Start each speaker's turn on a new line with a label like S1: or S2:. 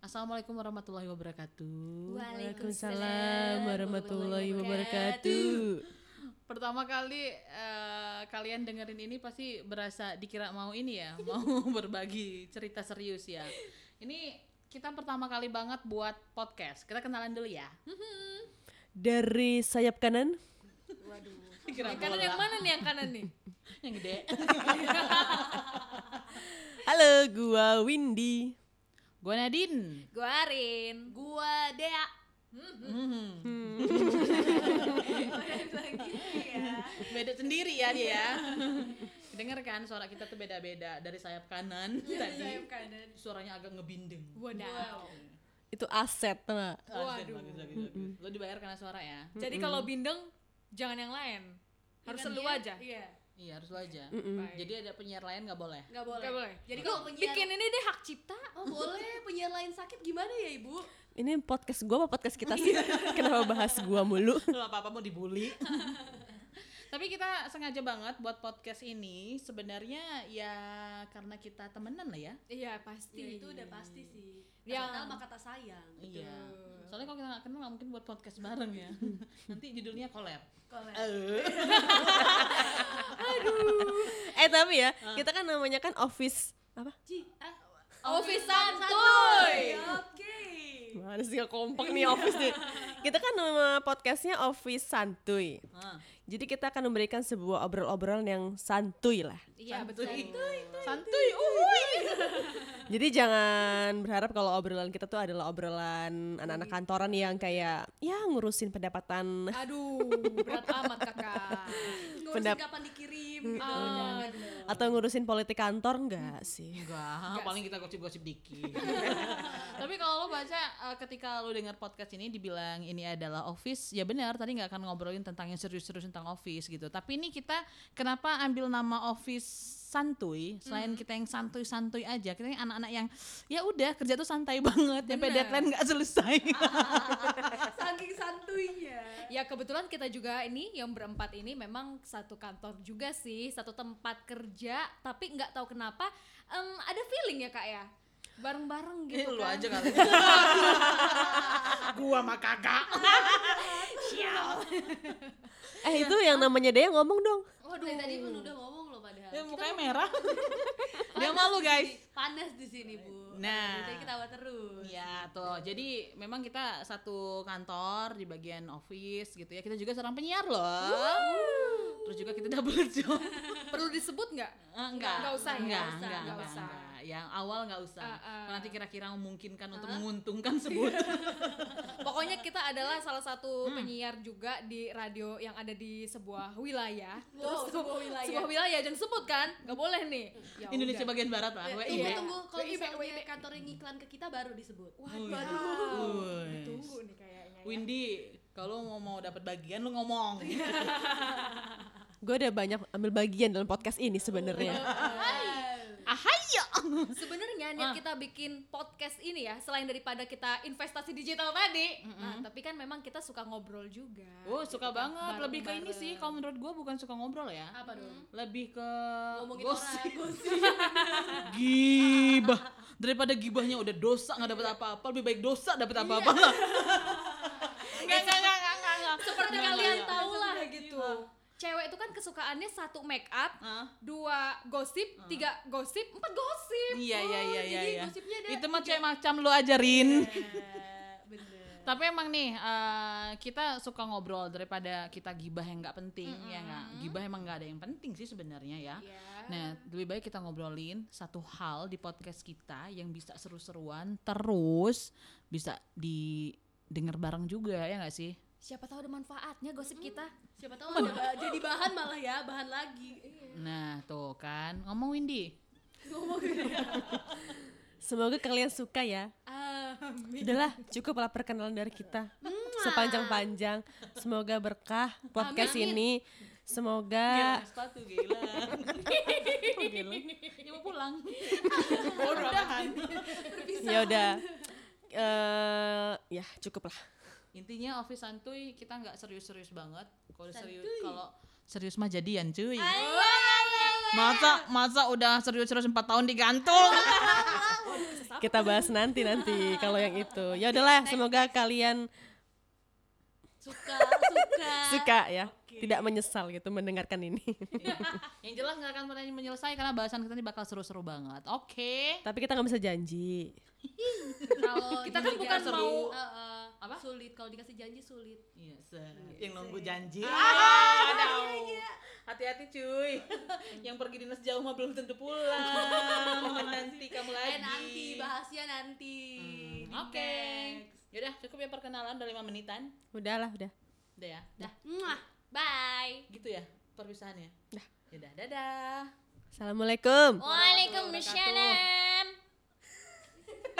S1: Assalamualaikum warahmatullahi wabarakatuh.
S2: Waalaikumsalam warahmatullahi wabarakatuh.
S1: Pertama kali eh, kalian dengerin ini pasti berasa dikira mau ini ya, mau berbagi cerita serius ya. Ini kita pertama kali banget buat podcast. Kita kenalan dulu ya.
S2: Dari sayap kanan,
S1: Kira
S3: Yang kanan yang
S1: bola.
S3: mana nih yang kanan nih?
S1: Yang gede.
S2: halo gua Windy.
S1: Gue Nadine.
S3: Gua Arin. Gua Dea. Hmm,
S1: Hmm.
S3: Iya.
S1: Beda sendiri ya dia ya. Dengar kan suara kita tuh beda-beda dari sayap kanan tadi.
S3: Iya, kanan.
S1: Suaranya agak ngebindeng.
S3: Wow.
S2: Itu aset, tau nggak?
S1: Waduh. Lo dibayar karena suara ya?
S3: Jadi kalau bindeng jangan yang lain. Harus lu aja. Iya.
S1: Iya harus lo aja.
S2: Mm-mm.
S1: Jadi ada penyiar lain nggak boleh.
S4: Gak boleh.
S3: Gak boleh.
S4: Jadi
S3: Lu
S4: kalau penyiar
S3: bikin ini deh hak cipta.
S4: Oh, boleh, penyiar lain sakit gimana ya, Ibu?
S2: Ini podcast gua apa podcast kita sih? Kenapa bahas gua mulu?
S1: Lo apa apa mau dibully. Tapi kita sengaja banget buat podcast ini sebenarnya ya karena kita temenan lah ya.
S3: Iya,
S4: Ya,
S3: pasti.
S4: itu udah pasti sih.
S3: Yang-
S4: Yang kenal maka tak sayang.
S1: Iya. Soalnya kalau kita nggak kenal nggak mungkin buat podcast bareng ya. Nanti judulnya collab.
S4: Kalau
S1: Eh,
S2: eh tapi ya, kita kan namanya kan office apa?
S4: Ci, ah,
S3: Office
S4: santuy.
S3: santuy.
S4: Oke.
S2: Mana sih nggak kompak nih office nih? Kita kan nama podcastnya Office Santuy.
S1: ah,
S2: Jadi kita akan memberikan sebuah obrol-obrolan yang santuy lah.
S3: Iya, betul.
S1: santuy. Santuy. uhuy.
S2: Jadi jangan berharap kalau obrolan kita tuh adalah obrolan anak-anak kantoran yang kayak ya ngurusin pendapatan.
S3: Aduh, berat amat kakak.
S2: Pendap-
S4: Ngurusin kapan dikirim gitu.
S3: Ah.
S4: Jangan dong.
S2: atau ngurusin politik kantor
S3: Hmm.
S2: enggak sih?
S1: Enggak, paling kita gosip-gosip dikit. Tapi kalau lo baca eh, ketika lo dengar podcast ini dibilang ini adalah office, ya benar tadi nggak akan ngobrolin tentang yang serius-serius tentang office gitu. Tapi ini kita kenapa ambil nama office santuy selain kita yang santuy-santuy aja, kita yang anak-anak yang ya udah kerja tuh santai banget, sampai
S3: Bener.
S1: deadline nggak selesai. ah,
S4: Saking santuinya.
S3: Ya kebetulan kita juga ini yang berempat ini memang satu kantor juga sih, satu tempat kerja, tapi nggak tahu kenapa em, ada feeling ya kak ya,
S1: Eh,
S3: bareng-bareng gitu
S1: lu
S3: kan.
S1: aja kali. Gua mah kagak.
S2: Eh itu yang namanya dia ngomong dong.
S4: Waduh. tadi pun udah ngomong loh padahal.
S1: Ya, mukanya merah. Dia malu guys.
S4: Panas di sini, Bu.
S1: Nah.
S4: Jadi ketawa terus.
S1: Ya tuh, jadi memang kita satu kantor di bagian office gitu ya. Kita juga seorang penyiar loh. Terus juga kita double job.
S3: Perlu disebut nggak?
S1: Eh, enggak,
S3: Nggak usah ya,
S1: enggak,
S3: nggak usah,
S1: enggak,
S3: nggak
S1: enggak,
S3: usah.
S1: enggak. Yang awal nggak usah.
S3: Ah, ah.
S1: Kalau Nanti kira-kira memungkinkan untuk menguntungkan sebut.
S3: Ya Pokoknya kita adalah salah satu
S1: Hmm.
S3: penyiar juga di radio yang ada di sebuah wilayah.
S4: Wow, sebuah wilayah.
S3: Sebuah wilayah jangan sebut kan? Nggak boleh nih. Ya
S1: Indonesia
S3: udah.
S1: bagian barat
S3: Iya,
S1: lah,
S4: Tunggu,
S1: WIB.
S4: tunggu. Kalau
S3: Ibe,
S4: misalnya kantor yang ngiklan ke kita baru disebut.
S1: Oh,
S3: Waduh.
S1: ya Wuih.
S3: Ditunggu nih kayaknya. ya.
S1: Windy, kalau mau mau dapat bagian lu ngomong.
S2: Gue udah banyak ambil bagian dalam podcast ini sebenarnya.
S4: Hai.
S1: Ahayo.
S3: Sebenarnya niat
S1: Ah.
S3: kita bikin podcast ini ya, selain daripada kita investasi digital tadi, nah, tapi kan memang kita suka ngobrol juga.
S1: Oh, suka banget. Lebih ke ini
S3: Bareng-bareng.
S1: sih kalau menurut gua bukan suka ngobrol ya.
S4: Apa dong?
S1: Lebih ke
S4: Ngomongin
S1: gosip.
S4: orang. Gosip.
S1: gibah daripada gibahnya udah dosa nggak dapat apa-apa lebih baik dosa dapat apa-apa lah
S3: Enggak, enggak, enggak, enggak, enggak, enggak. Seperti
S1: Enggak,
S3: kalian
S1: enggak.
S3: tahu lah
S1: Iya.
S3: gitu. Cewek itu kan kesukaannya satu make up,
S1: Hah?
S3: dua gosip, tiga gosip, empat gosip.
S1: Ah. iya iya iya iya
S4: jadi
S1: iya.
S4: gosipnya ada
S1: itu mah cewek macam lu ajarin
S4: Eh, Bener.
S1: Iya, tapi emang nih eh, kita suka ngobrol daripada kita gibah yang nggak penting ya nggak gibah emang nggak ada yang penting sih sebenarnya ya Nah, lebih baik kita ngobrolin satu hal di podcast kita yang bisa seru-seruan terus bisa didengar bareng juga ya nggak sih?
S3: Siapa tahu ada manfaatnya gosip kita.
S4: Siapa tahu ba- jadi bahan malah ya, bahan lagi. Iya.
S1: Nah, tuh kan ngomong Windy.
S2: Semoga kalian suka ya.
S3: Amin.
S2: Udahlah, cukup lah perkenalan dari kita. Sepanjang-panjang. Semoga berkah podcast
S3: Amin.
S2: ini. Semoga
S1: sepatu gila. Ya mau pulang. Udahan.
S2: ya udah. Eh ya cukup lah.
S1: Intinya office santuy kita nggak serius-serius banget. Kalau serius kalau serius mah jadian cuy.
S3: Ayo, ayo, ayo,
S1: Masa masa udah serius-serius 4 tahun digantung.
S2: Kita bahas nanti nanti kalau yang itu. Ya udahlah, semoga kalian
S4: Suka, suka.
S2: suka ya, tidak menyesal gitu mendengarkan ini.
S1: Yang jelas nggak akan pernah menyelesai karena bahasan kita ini bakal seru-seru banget. Oke.
S2: Tapi kita nggak bisa janji.
S4: Kalau
S1: Kita kan bukan
S4: diberikan seru,
S1: mau-
S4: eh, eh,
S1: Apa?
S4: Sulit kalau dikasih janji sulit.
S1: Iya, yang nunggu janji. Ah, aduh. Hati-hati cuy. yang pergi dinas jauh mah belum tentu pulang. nanti kamu lagi.
S4: Eh nanti bahasnya nanti.
S1: Hmm.
S4: Di
S1: Oke.
S4: next.
S1: Yaudah, cukup ya perkenalan udah 5 menitan.
S2: Udahlah, udah.
S1: Udah ya. Dah,
S4: Muah. Bye.
S1: gitu ya perpisahannya. Dah. Yaudah, dadah.
S2: Assalamualaikum.
S4: Waalaikumsalam.